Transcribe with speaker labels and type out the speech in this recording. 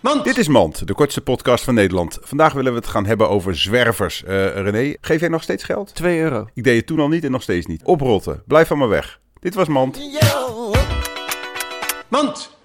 Speaker 1: Mand.
Speaker 2: Dit is Mand, de kortste podcast van Nederland. Vandaag willen we het gaan hebben over zwervers. Eh, René, geef jij nog steeds geld?
Speaker 3: 2 euro.
Speaker 2: Ik deed het toen al niet en nog steeds niet. Oprotten, blijf van me weg. Dit was Mand.
Speaker 1: Mand.